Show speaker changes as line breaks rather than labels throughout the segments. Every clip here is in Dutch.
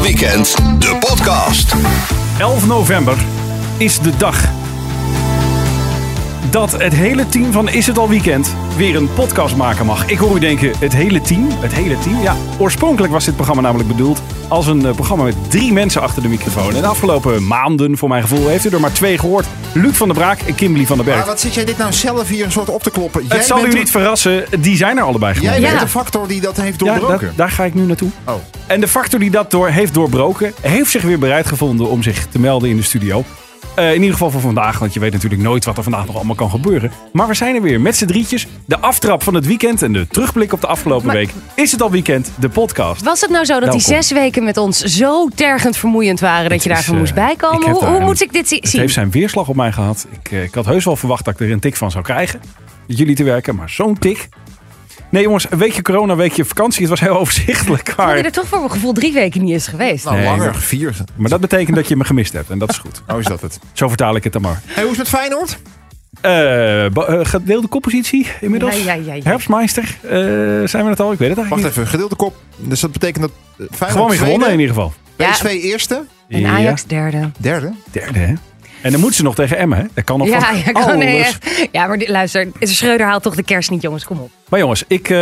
weekend, de podcast.
11 november is de dag dat het hele team van Is het al weekend weer een podcast maken mag. Ik hoor u denken, het hele team, het hele team, ja. Oorspronkelijk was dit programma namelijk bedoeld als een eh, programma met drie mensen achter de microfoon. En de afgelopen maanden, voor mijn gevoel, heeft u er maar twee gehoord. Luc van der Braak en Kimberly van der
Maar
Berg.
wat zit jij dit nou zelf hier een soort op te kloppen? Jij
Het zal u
bent
niet verrassen, die zijn er allebei
de, jij
geworden.
bent
Ja.
de factor die dat heeft
Ja,
doorbroken.
daar- daar ga ik nu naartoe.
Oh.
En de factor die dat door heeft doorbroken, heeft zich weer bereid gevonden om zich te melden in de studio. Eh, in ieder geval voor vandaag, want je weet natuurlijk nooit wat er vandaag nog allemaal kan gebeuren. Maar we zijn er weer met z'n drietjes. De aftrap van het weekend en de terugblik op de afgelopen
Maar-
week. Is het al weekend? De podcast.
Was het nou zo dat die
Welkom.
zes weken met ons zo tergend vermoeiend waren dat je
Het
daarvan
is,
moest
eh, ik
bijkomen?
heb
Hoe,
daar
hoe
een-
moet ik dit zi-
Het
zien?
heeft zijn weerslag op mij gehad. Ik, eh, ik had heus wel verwacht dat ik er een tik van zou krijgen. Met jullie te werken, maar zo'n tik. Nee jongens, een weekje corona, een weekje vakantie. Het was heel overzichtelijk.
Dat
Maar,
je er toch voor mijn gevoel drie weken niet is geweest.
Nou,
Nee,
langer.
maar-
Vier.
maar dat betekent dat je me gemist hebt. En dat is goed.
Oh, is dat het.
Zo vertaal ik het dan maar.
Hey, hoe is het met Feyenoord?
Eh, ba- eh, gedeelde koppositie inmiddels.
Ja, ja, ja, ja.
Herbstmeister. eh, zijn we het al? Ik weet het eigenlijk
Wacht
niet.
even, gedeelde kop. Dus dat betekent dat eh, Feyenoord
Gewoon weer gewonnen in
tweede,
ieder geval.
Ja.
PSV eerste,
En Ajax derde.
derde.
Derde, hè? En dan moet ze nog tegen Emmen, hè? Dat kan nog
Ja,
van
ja, kan,
alles.
nee, echt. ja, maar dit- luister, Schreuder haalt toch de kerst niet, jongens. Kom op.
Maar jongens, ik eh,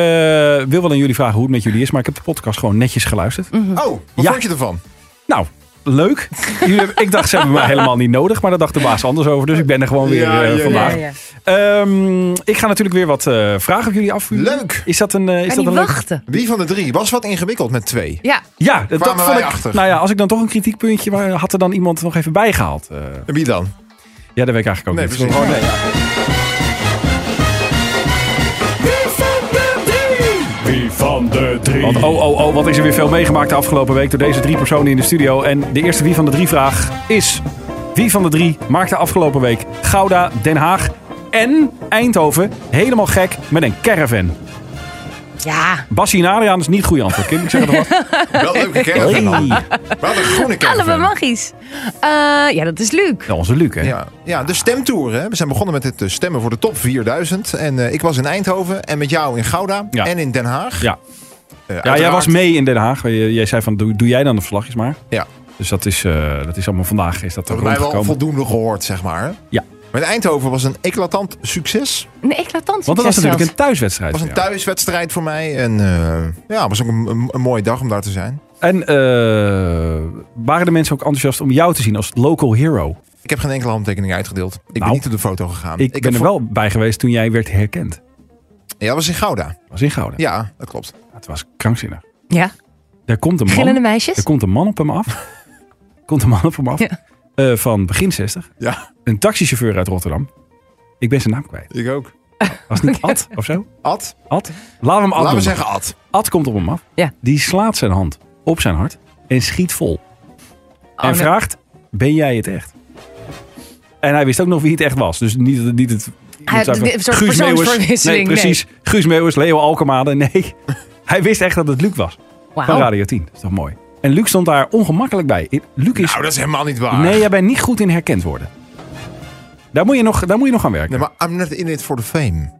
wil wel aan jullie vragen hoe het met jullie is. Maar ik heb de podcast gewoon netjes geluisterd.
Mhm.
Oh, wat
Ja.
vond je ervan?
Nou, leuk. Jullie hebben- ik dacht, ze hebben mij helemaal niet nodig. Maar daar dacht de baas anders over. Dus ik ben er gewoon weer
Ja,
eh,
ja, ja.
vandaag.
Ja, ja.
Ehm, ik ga natuurlijk weer wat eh, vragen op jullie afvuren.
Leuk.
Is dat een, eh, is
Kan
dat
niet
een leuk...
wachten.
Wie van de drie was wat ingewikkeld met twee?
Ja,
Ja, dat
Kwamen
vond
wij
ik.
achter.
Nou ja, als ik dan toch een kritiekpuntje maar had er dan iemand nog even bijgehaald. eh
En Wie dan?
ja, dat weet ik eigenlijk ook
Nee,
niet.
precies.
Gewoon, eh, Want oh, oh, oh, wat is er weer veel meegemaakt de afgelopen week door deze drie personen in de studio. En de eerste wie van de drie vraag is: wie van de drie maakte afgelopen week Gouda, Den Haag en Eindhoven helemaal gek met een caravan?
ja.
Bassi en Adriaan is niet goed antwoord, Kim. Ik zeg het al.
Wel een leuke caravan dan. Wel een groene
Allemaal
caravan.
magisch. Eh, ja, dat is Luc.
Ja, onze Luc, hè?
Ja, ja, de stemtour. Hè. We zijn begonnen met het eh, stemmen voor de top 4000. En eh, ik was in Eindhoven en met jou in Gouda
Ja.
en in Den Haag.
Ja.
Eh,
Ja, jij
uiteraard-
was mee in Den Haag. Jij jij zei van, doe, doe jij dan de verslagjes maar.
Ja.
Dus dat is, eh, dat is allemaal vandaag is dat er
Dat hebben mij wel
rondgekomen.
voldoende gehoord, zeg maar.
Ja.
Maar Eindhoven was een eclatant succes.
Een eclatant
Want dat was
succes
natuurlijk
zelfs.
een thuiswedstrijd.
Het was een
voor jou.
thuiswedstrijd voor mij. En eh, ja, het was ook een, een, een mooie dag om daar te zijn.
En eh, waren de mensen ook enthousiast om jou te zien als local hero?
Ik heb geen enkele handtekening uitgedeeld. Ik
Nou,
ben niet op de foto gegaan.
Ik, ben
heb
er
vo-
wel bij geweest toen jij werd herkend.
Ja, dat was in Gouda.
was in Gouden.
Ja, dat klopt.
Het was krankzinnig.
Ja,
Er komt een
gillende
man, er
meisjes.
komt een man op hem af. komt een man op hem af.
Ja.
eh, van begin 60.
Ja,
Een taxichauffeur uit Rotterdam. Ik ben zijn naam kwijt.
ik ook.
Was het niet Ad of zo?
Ad,
Ad? Laten we hem Ad
laten we
noemen.
zeggen Ad.
Ad komt op hem af.
Ja.
Die slaat zijn hand op zijn hart en schiet vol. en
nee.
vraagt, ben jij het echt? En hij wist ook nog wie het echt was. Dus niet, niet het...
Hij had een soort
Meeuwers. Nee,
persoonsverwisseling,
precies. Guus Meeuwers, Leo Alkemade. Nee, hij wist echt dat het Luc was. Van
Wauw.
Radio 10. Dat is toch mooi. En Luc stond daar ongemakkelijk bij. I- Luc is...
Nou, dat is helemaal niet waar.
nee, jij bent niet goed in herkend worden. Daar moet je nog, daar moet je nog aan werken.
Nee, maar I'm not in it for the
Oh,
fame.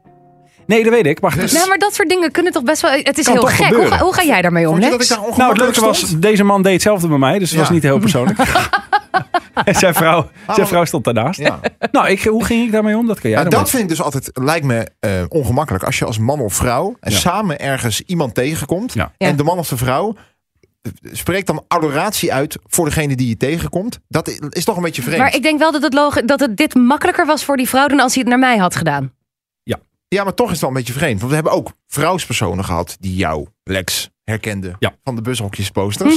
Nee, dat weet ik. Maar
Dus-
Nou, maar dat soort dingen kunnen toch best wel... Het is
Kan
heel
toch
gek. Hoe
gebeuren.
ga, hoe ga jij daarmee om,
Vond je dat
Lex?
ik daar
Nou, het
ongemakkelijk
leuke was,
stond?
deze man deed hetzelfde bij mij, dus het
Ja.
was niet heel persoonlijk. en zijn vrouw, zijn vrouw stond daarnaast.
Ja.
Nou, ik, hoe ging ik daarmee om? Dat kan jij
Nou,
dan
dat vind ik dus altijd, lijkt me eh, ongemakkelijk. Als je als man of vrouw en
Ja.
samen ergens iemand tegenkomt.
Ja.
Ja.
En de man of de vrouw eh, spreekt dan adoratie uit voor degene die je tegenkomt. Dat i- is toch een beetje vreemd.
Maar ik denk wel dat het, logi- dat het dit makkelijker was voor die vrouw dan als hij het naar mij had gedaan.
Ja, maar toch is het wel een beetje vreemd. Want we hebben ook vrouwspersonen gehad die jou, Lex, herkenden.
Ja.
Van de bushokjesposters.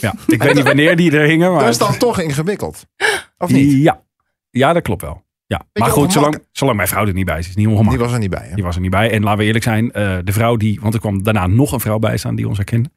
Ja, ik weet niet wanneer die er hingen, maar...
Dat is dan toch ingewikkeld. Of niet?
Ja. ja, dat klopt wel. Ja.
je,
Maar goed, zolang,
ongemakkelijk.
zolang mijn vrouw er niet bij is, is het niet
Die
ongemakkelijk.
was er niet bij. Hè?
Die was er niet bij. En laten we eerlijk zijn, eh, de vrouw die... Want er kwam daarna nog een vrouw bij staan die ons herkende.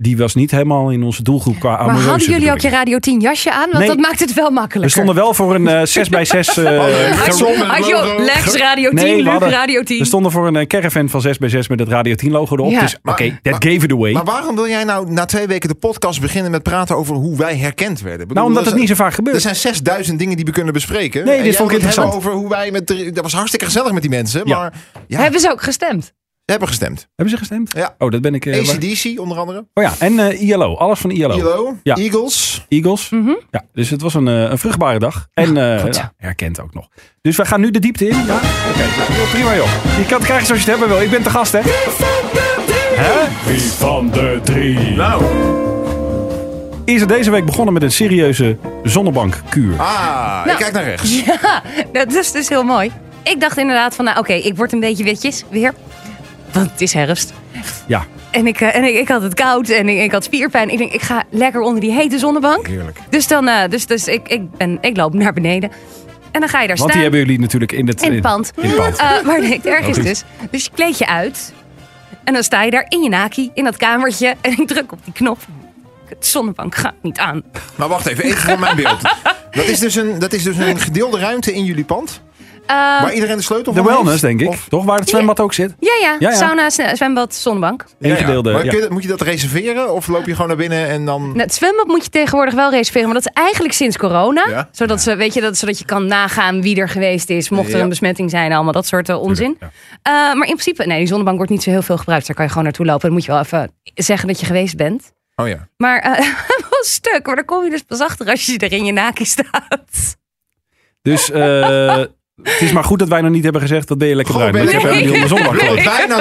Die was niet helemaal in onze doelgroep qua
Maar
amoreuze
hadden jullie ook je
bedoelingen.
Radio 10 jasje aan? Want
Nee.
dat maakt het wel makkelijker.
We stonden wel voor een eh, 6 bij 6 eh,
Had
Had
je- Zonder had je logo. ook Lex
Lex Radio 10,
Nee, we Luc hadden-
Radio 10.
We stonden voor een eh, caravan van 6x6 met het Radio 10 logo erop.
Ja.
Dus oké,
Maar-
that gave it away.
Maar waarom wil jij nou na twee weken de podcast beginnen met praten over hoe wij herkend werden? Ik bedoel,
nou, omdat
dat
het
is-
niet zo vaak
Er
gebeurt.
zijn 6000 dingen die we kunnen bespreken.
Nee,
En
dit
jij
vond ik
wil het
interessant.
hebben over hoe wij met. de- Dat was hartstikke gezellig met die mensen.
Ja.
Maar ja,
Hebben ze ook gestemd?
hebben gestemd.
Hebben ze gestemd?
Ja.
Oh, dat ben ik... eh, waar-
ACDC onder andere.
Oh ja, en eh, ILO. Alles van ILO.
ILO,
Ja.
Eagles.
Eagles. Ja, dus het was een, eh, een vruchtbare dag. En eh,
goed zo.
ja, herkend ook nog. Dus wij gaan nu de diepte in. Ja? Oké, joh, prima joh. Je kan het krijgen zoals je het hebben wil. Ik ben te gast, hè? Hè?
Wie van de drie?
Is er deze week begonnen met een serieuze zonnebankkuur.
Ah,
Nou.
ik kijk naar rechts.
Ja, dat is dus heel mooi. Ik dacht inderdaad van, nou oké, ik word een beetje witjes weer. Want het is herfst.
Ja.
En ik, eh, en ik, ik had het koud en ik, ik had spierpijn. Ik denk, ik ga lekker onder die hete zonnebank.
Heerlijk.
Dus, dan, eh, dus, dus ik, ik, ben, ik loop naar beneden. En dan ga je daar
Want die
staan.
hebben jullie natuurlijk in het...
In het pand.
In het pand.
Eh, maar nee, het erg is
Logisch.
dus. Dus je kleed je uit. En dan sta je daar in je naki, in dat kamertje. En ik druk op die knop. Het zonnebank gaat niet aan.
Maar wacht even, even voor mijn beeld. Dat is, dus een, dat is dus een gedeelde ruimte in jullie pand. waar iedereen de sleutel
Ehm, De
van
wellness,
heeft?
denk ik.
Of-
Toch? Waar het zwembad ook zit.
Ja, ja.
Ja, ja.
Sauna, sne- zwembad, zonnebank.
Eén
Ja, ja.
gedeelde...
Maar
ja.
kun je- moet je dat reserveren? Of loop je gewoon naar binnen en dan...
Nou, het zwembad moet je tegenwoordig wel reserveren. Maar dat is eigenlijk sinds corona.
Ja.
Zodat, ze, weet je, dat, zodat je kan nagaan wie er geweest is. Mocht er
Ja.
een besmetting zijn. Allemaal dat soort eh, onzin. Eh, maar in principe, nee, die zonnebank wordt niet zo heel veel gebruikt. Daar kan je gewoon naartoe lopen. Dan moet je wel even zeggen dat je geweest bent.
Oh ja.
Maar eh wel stuk. Maar daar kom je dus pas achter als je er in je naki staat.
Dus eh, het is maar goed dat wij nog niet hebben gezegd... dat ben je lekker
Goh,
bruin.
ben
Want ik
je-
heb helemaal niet onder zonnebank
Ik wil
gelopen.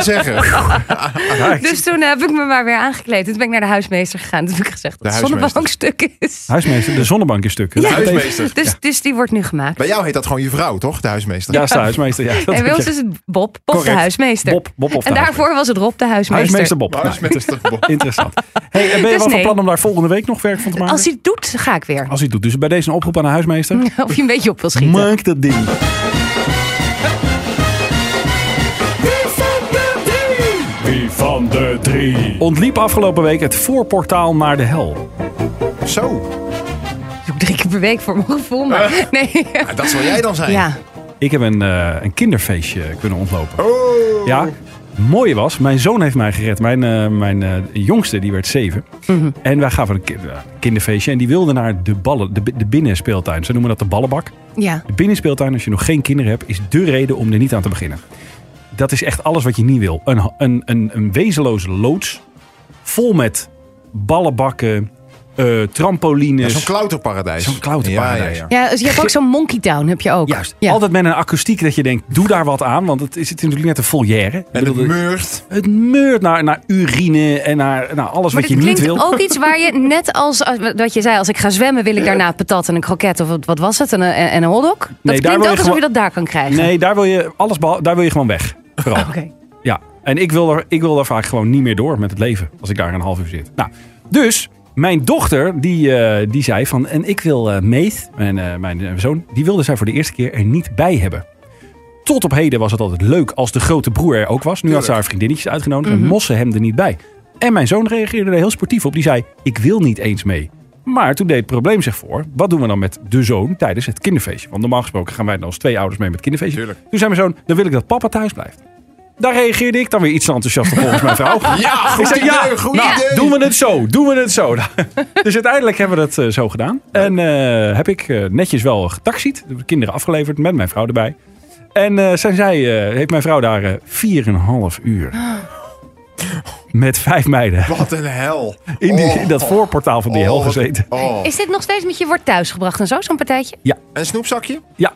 het bijna zeggen.
Dus toen eh, heb ik me maar weer aangekleed. Toen ben ik naar de huismeester gegaan. Toen heb ik gezegd dat de
huismeester.
zonnebank stuk is.
Huismeester, de zonnebank is stuk.
Ja.
Huismeester.
Dus, dus die wordt nu gemaakt.
Bij jou heet dat gewoon je vrouw, toch? De huismeester.
Ja, is de huismeester. Ja, dat
En bij
heb
ons
je-
is het Bob, Bob de
Correct.
huismeester.
Bob, Bob of de
en daarvoor was het Rob de huismeester.
Huismeester Bob. Nou,
Huismeester.
Interessant. Hey, en ben je
Dus
wel van
nee.
plan om daar volgende week nog werk van te maken?
Als hij het doet, ga ik weer.
Als hij het doet. Dus bij deze een oproep aan de huismeester.
Of je een beetje op wil schieten.
Maak dat ding.
Wie van de drie?
Ontliep afgelopen week het voorportaal naar de hel.
Zo,
Dat doe ik drie keer per week voor mijn gevoel.
Eh.
Maar nee.
Ja, Nou, dat zal jij dan zijn.
Ja,
Ik heb een, eh, een kinderfeestje kunnen ontlopen.
Oh.
Ja, het mooie was, mijn zoon heeft mij gered. Mijn, eh, mijn eh, jongste, die werd zeven. En wij gaven een ki- eh, kinderfeestje. En die wilde naar de, ballen, de, bi- de binnenspeeltuin. Ze noemen dat de ballenbak.
ja.
De binnenspeeltuin, als je nog geen kinderen hebt, is de reden om er niet aan te beginnen. Dat is echt alles wat je niet wil. Een, een, een, een wezenloze loods vol met ballenbakken, eh,
Ja,
trampolines.
Zo'n klauterparadijs.
Zo'n klauterparadijs.
Ja, ja,
ja dus je hebt ook zo'n Monkey Town, heb je ook.
Juist.
Ja.
Altijd met een akoestiek dat je denkt, doe daar wat aan. Want het is het is natuurlijk net een volière. Ik
En het
bedoel, het,
meurt.
meurt naar, naar urine en naar, naar alles
Maar
wat je
dit
niet
klinkt
wil.
ook iets waar je, net als, als wat je zei, als ik ga zwemmen wil ik daarna patat en een kroket of wat- wat was het, en een, en een hotdog. Dat
daar wil
klinkt
je
ook alsof
gewoon-
je dat daar kan krijgen.
Nee, daar wil je, alles behal- daar wil je gewoon weg. Vooral.
Oké.
Ja, en ik wil, er, ik wil daar vaak gewoon niet meer door met het leven. Als ik daar een half uur zit. Nou, dus mijn dochter, die, eh, die zei van... En ik wil eh Meet, mijn, eh, mijn eh, zoon... Die wilde zij voor de eerste keer er niet bij hebben. Tot op heden was het altijd leuk als de grote broer er ook was. Nu had ze haar vriendinnetjes uitgenodigd en mossen hem er niet bij. En mijn zoon reageerde er heel sportief op. Die zei, ik wil niet eens mee. Maar toen deed het probleem zich voor. Wat doen we dan met de zoon tijdens het kinderfeestje? Want normaal gesproken gaan wij dan als twee ouders mee met het kinderfeestje.
Tuurlijk.
Toen zei mijn zoon, dan wil ik dat papa thuis blijft. Daar reageerde ik dan weer iets te enthousiast op volgens mijn vrouw.
Ja, goed
ik zei,
idee,
ja,
goed
nou,
idee.
doen we het zo, doen we het zo. dus uiteindelijk hebben we dat eh, zo gedaan. En eh, heb ik eh, netjes wel getaxied. De kinderen afgeleverd met mijn vrouw erbij. En eh, zijn zij, eh, heeft mijn vrouw daar eh, 4,5 uur met vijf meiden
Wat een hel.
in, die,
Oh.
in dat voorportaal van die hel
Oh, wat-
gezeten.
Oh.
Is dit nog steeds met je wordt thuisgebracht en zo, zo'n partijtje?
En een snoepzakje?
Ja,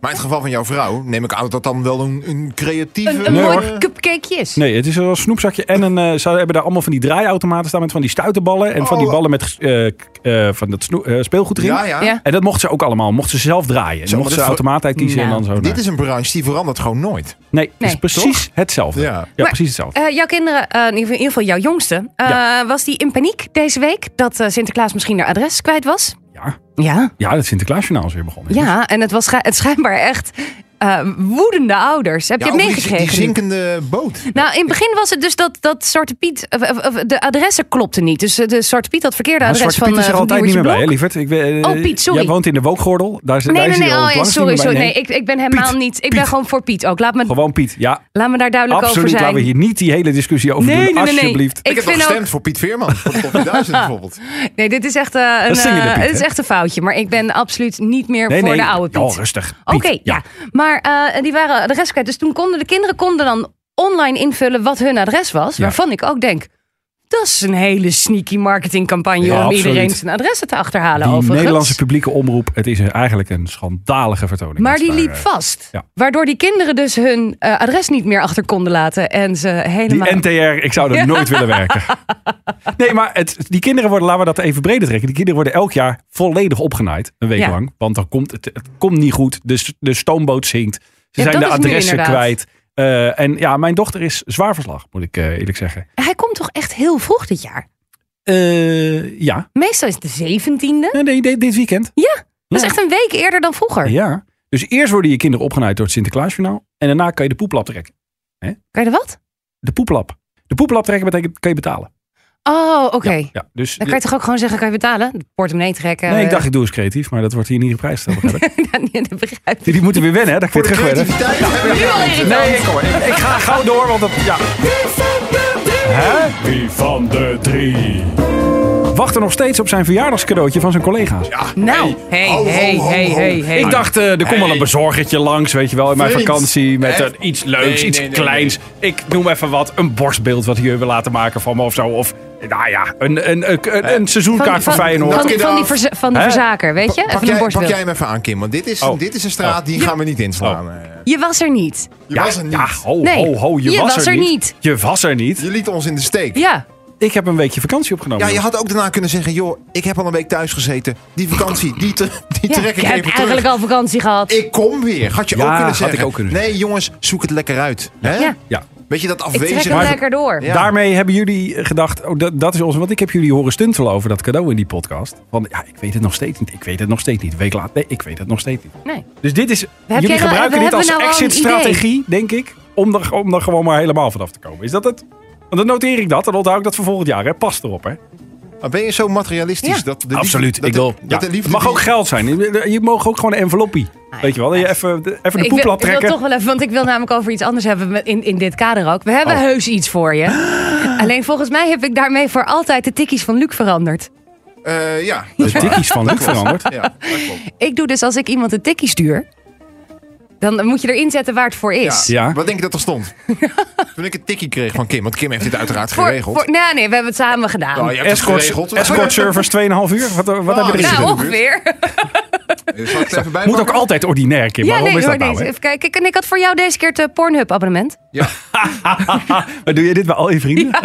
Maar in het geval van jouw vrouw neem ik aan dat dat dan wel een, een creatieve...
Een, een
Nee,
mooi
hoor.
cupcakeje is.
nee, het is een snoepzakje. En een, eh, ze hebben daar allemaal van die draaiautomaten staan met van die stuiterballen. En van die
Oh.
ballen met eh, k- eh, van dat snoe- eh, speelgoed erin.
Ja, ja.
Ja.
En dat mocht ze ook allemaal. Mocht ze zelf draaien.
Zo,
mocht
maar
ze
dit-
automaat uitkiezen en
Nou.
dan zo. naar-
Dit is een branche die verandert gewoon nooit.
Nee, het is
Nee.
precies hetzelfde.
Ja.
Ja,
Maar-
precies hetzelfde.
Eh, jouw kinderen, eh, in ieder geval- in ieder geval jouw jongste, eh,
Ja.
was die in paniek deze week dat eh, Sinterklaas misschien haar adres kwijt was?
Ja,
Ja.
ja het Sinterklaasjournaal is weer begonnen.
Ja, en het was scha- het schijnbaar echt eh, woedende ouders. Heb
Ja,
je
ook
het
die-
meegekregen?
Die zinkende boot.
Nou, in het begin was het dus dat, dat Zwarte Piet, of- of- of de adressen klopten niet. Dus eh, de Zwarte Piet had verkeerde
Maar
adres
Zwarte
van
Piet is
eh,
er
van
altijd niet
Diewertje
meer bij, hè,
Blok.
lieverd? Ik ben, eh,
Oh, Piet, sorry.
Jij woont in de Wookgordel. Daar, is-
Nee,
daar
nee,
is
nee.
hij al
Oh,
het
ja,
langst
sorry,
niet meer
sorry.
bij.
Nee, ik, ik ben helemaal
Piet,
niet. Ik
Piet.
ben gewoon voor Piet ook. Laat me,
Gewoon Piet. Ja,
laat me daar duidelijk
absoluut.
over zijn.
Laten we hier niet die hele discussie over
Nee,
doen.
nee, nee, nee.
Alsjeblieft.
Ik
Ik, heb toch
vind ook-
gestemd voor Piet Veerman. Voor de top 1000 bijvoorbeeld.
Nee, dit is echt, eh, een,
Dat zingen de
eh,
Piet,
dit is
hè?
echt een foutje. Maar ik ben absoluut niet meer
Nee,
voor
nee.
de oude Piet.
Oh, rustig.
Oké,
Piet,
ja. Maar eh, die waren de rest kwijt. Dus toen konden de kinderen konden dan online invullen wat hun adres was.
Ja.
Waarvan ik ook denk, dat is een hele sneaky marketingcampagne...
Ja,
om
absoluut.
iedereen zijn adressen te achterhalen
Die
overigens.
Nederlandse publieke omroep, het is eigenlijk een schandalige vertoning.
Maar
Dat is
die
daar,
liep
eh,
vast.
ja.
Waardoor die kinderen dus hun eh, adres niet meer achter konden laten. En ze helemaal...
Die NTR, ik zou er nooit willen werken. Nee, maar het, die kinderen worden, laten we dat even breder trekken. Die kinderen worden elk jaar volledig opgenaaid, een week
Ja.
lang. Want dan komt het, het komt niet goed, de, de stoomboot zinkt. Ze
Ja,
zijn
dat
de
is nu
adressen
inderdaad.
kwijt. Eh, en ja, mijn dochter is zwaar verslag, moet ik eh, eerlijk zeggen.
Hij komt toch echt heel vroeg dit jaar?
Eh, ja,
Meestal is het de 17e.
nee, nee, dit- dit weekend.
Dat is
Ja.
echt een week eerder dan vroeger.
Ja. Dus eerst worden je kinderen opgenaaid door het Sinterklaasjournaal. En daarna kan je de poeplap trekken.
Kan je er wat?
De poeplap. De poeplap trekken betekent, kan je betalen.
Oh, oké.
Ja, dus,
Dan kan eh, je toch ook gewoon zeggen, kan je betalen? De portemonnee trekken.
nee, ik dacht ik doe eens creatief, maar dat wordt hier niet geprijsd. begrijp ik.
Ja, nee, dat begrijp ik.
Die, die moeten weer wennen, hè? Dat kan je
Voor de
terug wennen.
creativiteit hebben we-
Nee, ik, hoor, ik, ik ga gauw door, want dat, ja. Hè?
Wie van de drie?
Wacht er nog steeds op zijn verjaardagscadeautje van zijn collega's.
Nou, hey,
ho,
hey,
ho,
hey,
ho.
hey, hey.
Ik dacht, eh, er komt wel een bezorgertje langs, weet je wel, in mijn
Vriend.
vakantie. Met
Hè?
een iets leuks,
Nee,
iets
nee, nee,
kleins. Ik noem even wat, een borstbeeld wat jullie willen laten maken van me of zo. Of, nou ja, een, een, een,
Eh,
een, een seizoenkaart voor Feyenoord.
Van, van,
Knap je
die,
eraf.
verza- van die
Hè?
verzaker, weet je?
Pak
Even een
jij, pak
borstbeeld.
jij hem even aan, Kim. Want dit is,
Oh.
dit is een straat, die gaan we niet inslaan. eh.
Je was er niet.
Je
ja,
was er niet.
ja, ho,
Nee,
ho, ho, je, was, er niet. Je was er niet.
Je liet ons in de steek.
Ja,
Ik heb een weekje vakantie opgenomen.
Ja, je had ook daarna kunnen zeggen, joh, ik heb al een week thuis gezeten. Die vakantie, die, te, die
ja.
trek ik
ik heb
even
eigenlijk
terug.
al vakantie gehad.
Ik kom weer. Had je
Ja,
ook kunnen
had
zeggen.
ik ook kunnen
nee, jongens, zoek het lekker uit. Hè?
Ja.
ja.
Weet je dat
Ik trek
afwezig?
hem lekker door.
Ja.
Daarmee hebben jullie gedacht, oh, dat, dat is ons. Want ik heb jullie horen stuntelen over dat cadeau in die podcast. Van ja, ik weet het nog steeds niet. Ik weet het nog steeds niet. Een week later, nee, ik weet het nog steeds niet.
Nee.
Dus dit is, jullie
jij nou-
gebruiken
we
dit als
hebben nou al een
exit-strategie, denk ik. Om er, om er gewoon maar helemaal vanaf te komen. Is dat het? Want dan noteer ik dat. Dan onthoud ik dat voor volgend jaar. Hè. Pas erop, hè?
Maar Ah, ben je zo materialistisch?
Ja.
dat de liefde-
Absoluut.
Dat
ik
de-
wil.
dat de
ja. Het
liefde
mag
die-
ook geld zijn. Je, je mag ook gewoon een enveloppie.
ja.
Weet je wel? Dat je even, de- even de
Ik wil,
poeplap
ik wil
trekken.
toch wel even, want ik wil namelijk over iets anders hebben met- in, in dit kader ook. We hebben
Oh.
heus iets voor je. Alleen volgens mij heb ik daarmee voor altijd de tikkies van Luc veranderd.
Eh, ja.
De tikkies van Luc veranderd.
Ja, dat klopt.
Ik doe dus als ik iemand een tikkie stuur, dan moet je erin zetten waar het voor is.
Ja.
Wat denk je dat er stond? Toen ik een tikkie kreeg van Kim, want Kim heeft dit uiteraard
Voor,
geregeld.
voor, nou, nee, nee, we hebben het samen gedaan.
Nou, je hebt het
Escort,
geregeld.
escort service 2,5 uur. Wat, wat heb
Ah,
je erin
ja.
zitten?
nou,
gebeurd?
ongeveer.
Zal ik het even
Moet
bijpakken?
ook altijd ordinair, Kim.
Ja,
Waarom
nee,
is
hoor,
dat nou?
deze-
hè?
even kijken. En ik had voor jou deze keer het eh, Pornhub-abonnement.
Ja.
Maar doe je dit bij al je vrienden?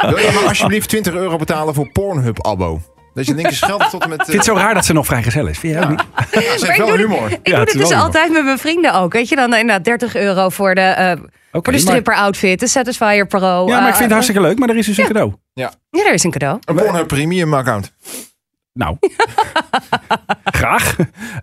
Wil je maar alsjeblieft 20 euro betalen voor Pornhub-abo? Dat je linkjes geld tot en met... eh,
Ik vind het zo raar dat ze nog vrijgezel is. Vind je ook niet?
ja, ze
Maar
heeft
ik
wel
doe dit-
humor.
Ik
Ja,
doe
het
dit
is
dus
wel humor.
altijd met mijn vrienden ook. Weet je, dan inderdaad 30 euro voor de, eh, voor de
maar-
stripper-outfit, de Satisfyer Pro.
Ja, maar ik vind
eh,
het hartstikke leuk, maar er is dus een cadeau.
Ja, er is een cadeau.
Een Pornhub Premium-account.
Nou, graag.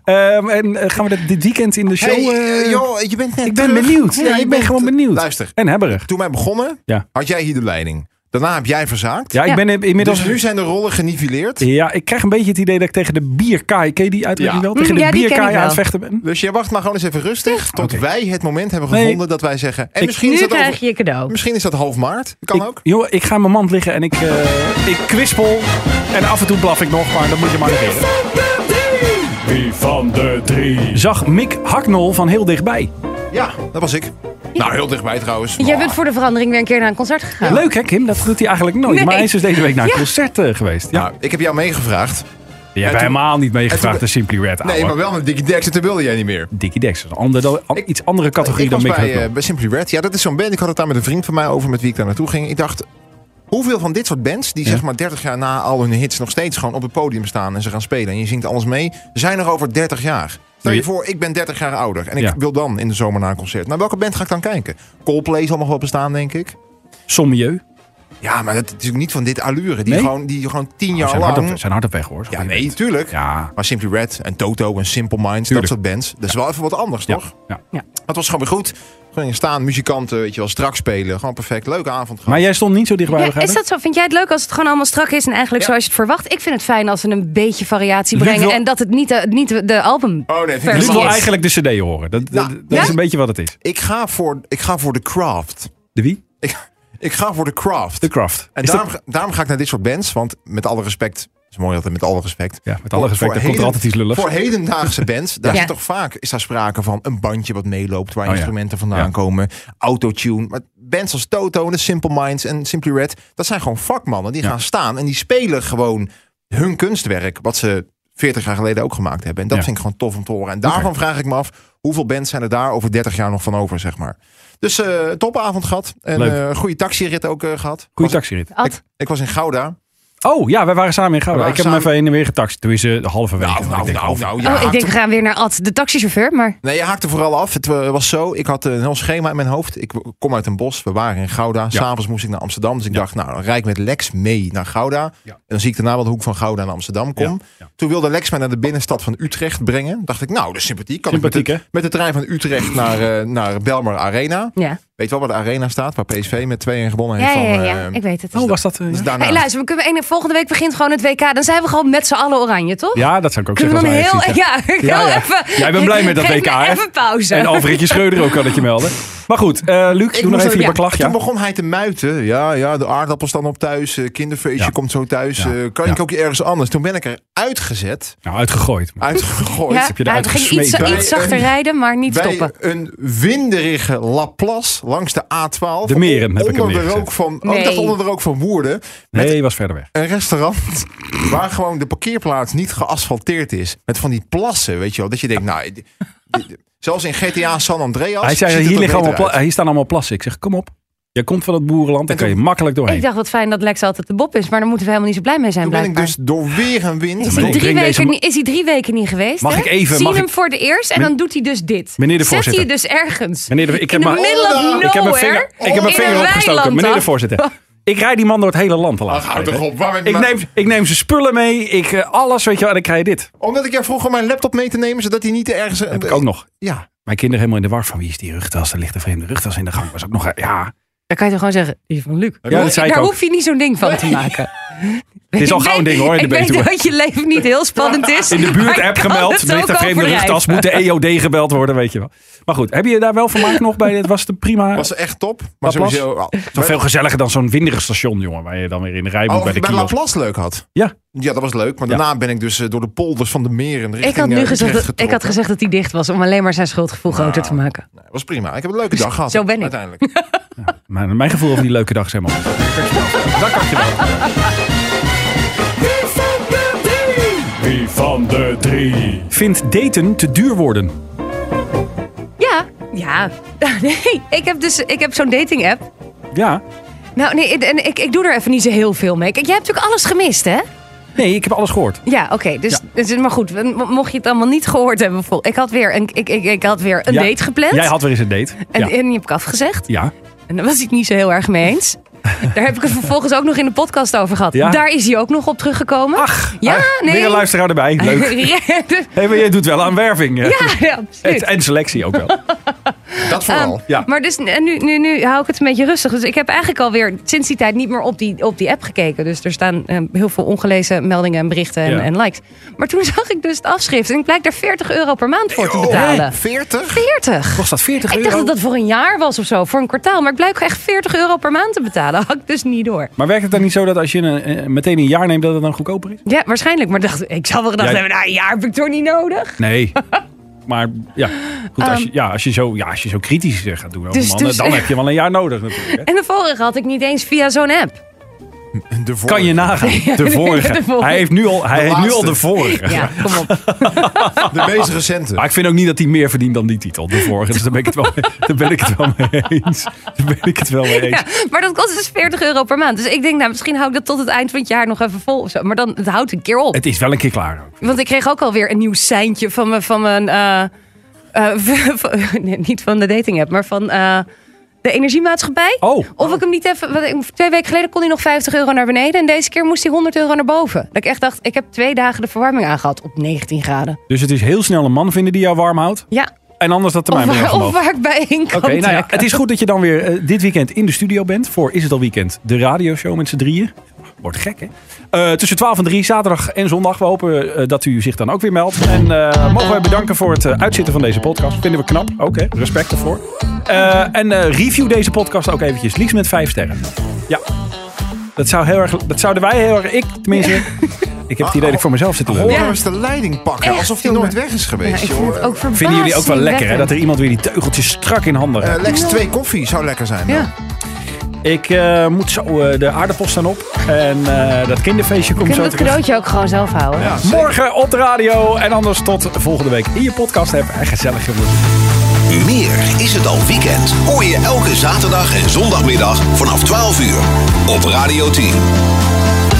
Ehm, en eh, gaan we dat dit weekend in de show?
Hey,
eh,
eh, joh, je bent net
ik ben
terug.
benieuwd. Ja,
je
ik ben
bent-
gewoon benieuwd.
Luister,
En hebberig.
toen wij begonnen,
Ja.
had jij hier de leiding. Daarna heb jij verzaakt.
Ja, ik
Ja.
ben in- inmiddels...
Dus nu zijn de rollen geniveleerd.
Ja, ik krijg een beetje het idee dat ik tegen de bierkaai... Ken je die uitdrukking
Ja.
wel? Tegen
Hm,
de
ja, die ken
bierkaai
ik
aan
wel.
het vechten ben.
Dus je wacht maar gewoon eens even rustig tot
Oké.
wij het moment hebben
Nee.
gevonden dat wij zeggen... En
Ik-
misschien, is
Nu
dat
krijg
over-
je je cadeau.
misschien is dat half maart. Kan
Ik,
ook.
joh, ik ga in mijn mand liggen en ik, eh, ik kwispel. En af en toe blaf ik nog, maar dat moet je maar negeren.
Wie van de drie?
Zag Mick Hacknol van heel dichtbij.
Ja, dat was ik. Nou, heel dichtbij trouwens.
Jij
Maar-
bent voor de verandering weer een keer naar een concert gegaan.
Leuk hè Kim, dat doet hij eigenlijk nooit.
Nee.
Maar hij is dus deze week naar een
Ja.
concert eh, geweest. Ja.
Nou, ik heb jou meegevraagd.
Je hebt
toen-
helemaal niet
en
meegevraagd
toen-
de Simply Red ouwe.
Nee, maar wel met Dickie Dexter, toen wilde jij niet meer.
Dickie Dex, een ander, dan- an-
Ik-
iets andere categorie
Ik
dan
was
Mick
bij,
Hucknall.
eh, bij Simply Red. Ja, dat is zo'n band. Ik had het daar met een vriend van mij over met wie ik daar naartoe ging. Ik dacht, hoeveel van dit soort bands die zeg maar 30 jaar na al hun hits nog steeds gewoon op het podium staan en ze gaan spelen en je zingt alles mee, zijn er over 30 jaar. Stel je
Nee.
voor, ik ben 30 jaar ouder en ik
Nou, Ja.
wil dan in de zomer naar een concert. Naar welke band ga ik dan kijken? Coldplay zal nog wel bestaan, denk ik.
Sommieu.
Ja, maar dat is natuurlijk niet van dit allure. Die,
Nee?
gewoon, die gewoon tien
Oh,
jaar
zijn, hard op,
lang...
zijn hard op weg hoor.
Ja, nee, tuurlijk.
Ja,
Maar Simply Red en Toto en Simple Minds,
Tuurlijk.
dat soort bands. Dat is wel even wat anders,
ja,
toch?
ja.
Maar het was gewoon weer goed. Gewoon in staan, muzikanten, weet je wel, strak spelen. Gewoon perfect. Leuke avond gehad.
Maar jij stond niet zo dichtbij.
Ja,
begrijp
is
ik?
dat zo? Vind jij het leuk als het gewoon allemaal strak is en eigenlijk
Ja.
zoals je het verwacht? Ik vind het fijn als ze een beetje variatie
Luc
brengen
wil-
en dat het niet de, niet de- de album.
Oh nee, vind ik,
Luc
Luc
Precies.
wil
helemaal-
eigenlijk de cd horen. Dat, dat,
Ja.
dat is
Ja?
een beetje wat het is.
ik ga voor Ik ga voor de craft.
De wie?
Ik, ik ga voor de craft.
De Craft.
en
Is dat-
daarom, ga- daarom ga ik naar dit soort bands. Want met alle respect, is mooi altijd met alle respect.
Ja, met alle
Voor-
respect,
voor
er komt er
heden-
altijd iets lulligs.
Voor hedendaagse bands, daar
Ja.
is toch vaak is daar sprake van een bandje wat meeloopt, waar
Oh ja.
instrumenten vandaan
Ja.
komen, autotune. Maar bands als Toto, de Simple Minds en Simply Red, dat zijn gewoon vakmannen die
Ja.
gaan staan en die spelen gewoon hun kunstwerk, wat ze 40 jaar geleden ook gemaakt hebben. En dat
Ja.
vind ik gewoon tof om te horen. En daarvan vraag ik me af, hoeveel bands zijn er daar over 30 jaar nog van over, zeg maar. Dus eh topavond gehad. En
Leuk.
eh, goede taxirit ook eh, gehad.
Goeie
Was-
taxirit.
Ad,
ik, ik was in Gouda.
Oh ja, wij waren samen in Gouda.
We
Ik heb hem
waren
even
samen-
heen en weer getaxt. Tenminste, eh, de halve week. Ik denk, oh,
nou.
oh, ik denk, we gaan weer naar Ad, de taxichauffeur. Maar
Nee, je haakte vooral af. Het eh, was zo, ik had een heel schema in mijn hoofd. Ik kom uit een bos, we waren in Gouda. S'avonds moest ik naar Amsterdam. Dus ik dacht, nou, dan rijd ik met Lex mee naar Gouda.
Ja.
En dan zie ik daarna wel de hoek van Gouda naar Amsterdam kom.
Ja, ja.
Toen wilde Lex mij naar de binnenstad van Utrecht brengen. Dacht ik, nou, dat is sympathiek. Kan ik
Sympathiek,
met de, met de trein van Utrecht naar, eh, naar Belmer Arena.
ja.
Weet je wel waar de Arena staat? Waar PSV met 2-1 gewonnen
Ja,
heeft
ja, ja,
van...
ja,
eh,
ik weet het.
Oh, was dat... eh,
dus
ja?
daarna.
Hey, luister, we kunnen, ene- volgende week begint gewoon het WK. Dan zijn we gewoon met z'n allen oranje, toch?
ja, dat zou ik ook
Kunnen we
zeggen.
dan
als
heel...
Ajax
Ja, ik wil
Ja, ja.
even...
Jij bent blij met dat
Geef
WK,
me
hè?
even pauze.
En Alfredje Schreuder ook, kan het je melden. Maar goed, eh, Luc, doe nog
moest
even je
ook-
beklag. Ja.
Toen begon hij te muiten. Ja, ja, de aardappels dan op thuis. eh, Kinderfeestje
Ja.
komt zo thuis.
Ja.
eh, kan
Ja.
ik ook ergens anders? Toen ben ik er uitgezet,
Nou,
Ah,
uitgegooid. Maar
uitgegooid.
Ja,
heb je
nou,
eruit
we gingen
gesmeed.
iets,
Bij
iets zachter
een-
rijden, maar niet
Bij
stoppen.
een winderige Laplace langs de A12.
De meren heb ik hem
onder de
neergezet.
rook van, oh, ik
Nee.
dacht onder de rook van Woerden. Met
Nee, was verder weg.
een restaurant waar gewoon de parkeerplaats niet geasfalteerd is. Met van die plassen, weet je wel. Dat je denkt, nou... dit- dit- Zelfs in GTA San Andreas.
Hij
ziet
zei,
het
hier,
er
liggen
beter
allemaal
uit.
pla- hier staan allemaal plassen. Ik zeg, kom op. Je komt van het boerenland, dan
En
kan je makkelijk doorheen.
Ik dacht wat fijn dat Lex altijd de Bob is, maar daar moeten we helemaal niet zo blij mee zijn.
Toen ben ik
Blijkbaar.
dus door weer een wind.
Is
Maar
hij,
ik
drie
drink deze
weken,
ma-
niet- is hij drie weken niet geweest?
Mag
hè?
ik even-
Zie
mag
hem
ik-
voor de eerst en dan doet hij dus dit.
Meneer de
Zet
voorzitter.
hij dus ergens.
Meneer de, ik heb
in
maar-
de middel of nowhere.
Ik heb mijn vinger, ik heb mijn
in een
vinger opgestoken.
weiland
Meneer de
af.
voorzitter. Ik rijd die man door het hele land al
Ach, hou Ah, toch op. Waarom heb je
Ik
maar-
neem, ik neem zijn spullen mee, ik, eh, alles, weet je wel, en ik krijg dit.
Omdat ik jou vroeg om mijn laptop mee te nemen, zodat hij niet ergens...
Heb ik ook nog.
Ja.
Mijn kinderen helemaal in de war van wie is die rugtas? Er ligt een vreemde rugtas in de gang. Was ook nog, eh, ja.
Dan kan je toch gewoon zeggen, die van Luc.
Ja, dat zei ik
Daar
ook.
hoef je niet zo'n ding van te maken.
Het is al gauw een ding hoor, in
Ik
de
weet
Betuwe.
dat je leven niet heel spannend is.
In de buurt app gemeld, er
Het
ligt een vreemde rugtas, moet de EOD gebeld worden, weet je wel. Maar goed, heb je daar wel vermaak nog bij? Het was de prima...
Was echt top. Maar
Laplace?
sowieso... Oh,
Toch veel gezelliger dan zo'n winderig station, jongen. Waar je dan weer in de rij moet
Oh,
bij
bij
de kiosk.
Laplace leuk had.
Ja.
Ja, dat was leuk. Maar daarna ben ik dus eh, door de polders van de meren richting
Ik had, nu
eh,
gezegd
Utrecht
dat, ik had
getrokken. Ah,
gezegd dat hij dicht was om alleen maar zijn schuldgevoel groter te maken. Dus
Nee, was prima. Ik heb een leuke dag gehad.
Zo ben ik.
Uiteindelijk.
Mijn, mijn gevoel van die leuke dag is helemaal anders. Dat kan je wel.
Wie van de drie?
Vindt daten te duur worden?
Ja, ja. Nee, ik heb dus ik heb zo'n dating app.
Ja.
Nou nee, en ik, ik doe er even niet zo heel veel mee. Kijk, jij hebt natuurlijk alles gemist, hè?
Nee, ik heb alles gehoord.
Ja, oké. dus, dus- maar goed, we- mo- mocht je het allemaal niet gehoord hebben, bijvoorbeeld. ik had weer een, ik, ik, ik had weer een
Ja.
date gepland.
Jij had weer eens een date.
en,
ja.
en die heb ik afgezegd.
ja.
En daar was ik het niet zo heel erg mee eens. Daar heb ik het vervolgens ook nog in de podcast over gehad.
Ja.
Daar is hij ook nog op teruggekomen.
Ach,
ja,
ah,
nee.
weer een luisteraar erbij. Leuk. Hey, maar jij doet wel aan werving. eh.
ja, ja,
Het-
absoluut.
en selectie ook wel.
Dat vooral.
Ja.
Maar dus en nu, nu, nu hou ik het een beetje rustig. Dus ik heb eigenlijk alweer sinds die tijd niet meer op die, op die app gekeken. Dus er staan eh, heel veel ongelezen meldingen en berichten en,
Ja.
en likes. Maar toen zag ik dus het afschrift. En ik blijk daar 40 euro per maand voor te
Oh,
betalen.
40?
40!
Kost dat 40
Ik
euro?
dacht dat dat voor een jaar was of zo, voor een kwartaal. Maar ik blijf echt 40 euro per maand te betalen. Had ik dus niet door.
Maar werkt het dan niet zo dat als je een, eh, meteen een jaar neemt, dat het dan goedkoper is?
Ja, waarschijnlijk. Maar dacht, ik zou wel gedacht
Ja.
hebben, nou een jaar heb ik toch niet nodig.
Nee. Maar ja, goed, als, je, ja, als, je zo, ja, als je zo kritisch eh, gaat doen over
Ehm. Dus-
mannen,
dus-
dan heb je wel een jaar nodig natuurlijk. hè.
En de vorige had ik niet eens via zo'n app.
De vorige.
Kan je nagaan. De vorige.
De vorige.
Hij heeft nu al, hij heeft nu al
laatste.
de vorige.
Ja, kom op.
De meest recente.
Maar ik vind ook niet dat hij meer verdient dan die titel, de vorige. Dus daar ben ik het wel, daar ben ik het wel mee eens. Daar ben ik het wel mee eens.
Ja, maar dat kost dus 40 euro per maand. Dus ik denk, nou, misschien hou ik dat tot het eind van het jaar nog even vol of zo. Maar dan, het houdt een keer op.
Het is wel een keer klaar ook.
Want ik kreeg ook alweer een nieuw seintje van mijn... Van mijn eh, eh, van- nee, niet van de dating app, maar van eh, de energiemaatschappij.
Oh.
Of ik hem niet even... want ik- Twee weken geleden kon hij nog 50 euro naar beneden. En deze keer moest hij 100 euro naar boven. Dat ik echt dacht, ik heb twee dagen de verwarming aangehad op 19 graden.
Dus het is heel snel een man vinden die jou warm houdt.
Ja,
En anders dat de
of
mij weer
waar, of
omhoog.
waar ik bijeen kan
Oké, nou ja,
trekken.
het is goed dat je dan weer eh, dit weekend in de studio bent. Voor Is het al weekend? De radioshow met z'n drieën. Wordt gek, hè? Eh, tussen 12 en 3, zaterdag en zondag. We hopen eh, dat u zich dan ook weer meldt. En eh, mogen wij bedanken voor het eh, uitzitten van deze podcast. Vinden we knap. Ook, hè? Respect ervoor. Eh, en eh, review deze podcast ook eventjes. Liefst met 5 sterren. Ja. Dat, zou heel erg, dat zouden wij heel erg... Ik tenminste... Ik heb het idee dat ik voor mezelf zit te lullen.
Horen
Ja.
we eens de leiding pakken,
Echt,
alsof die nooit
jongen.
weg is
Ja,
geweest.
ik
joh.
vind het ook verbazingwekkend.
Vinden jullie ook wel lekker, hè? Dat er iemand weer die teugeltjes strak in handen
Eh,
heeft.
Lex, twee koffie zou lekker zijn. dan.
Ja,
Ik eh, moet zo eh, de aardappels staan op. En eh, dat kinderfeestje komt
Kunnen we
zo
het
terug.
cadeautje ook gewoon zelf houden?
Ja, zeker.
Morgen op de radio. En anders tot volgende week in je podcast hebben. En gezellig jongens.
Meer is het al weekend. Hoor je elke zaterdag en zondagmiddag vanaf 12 uur op Radio 10.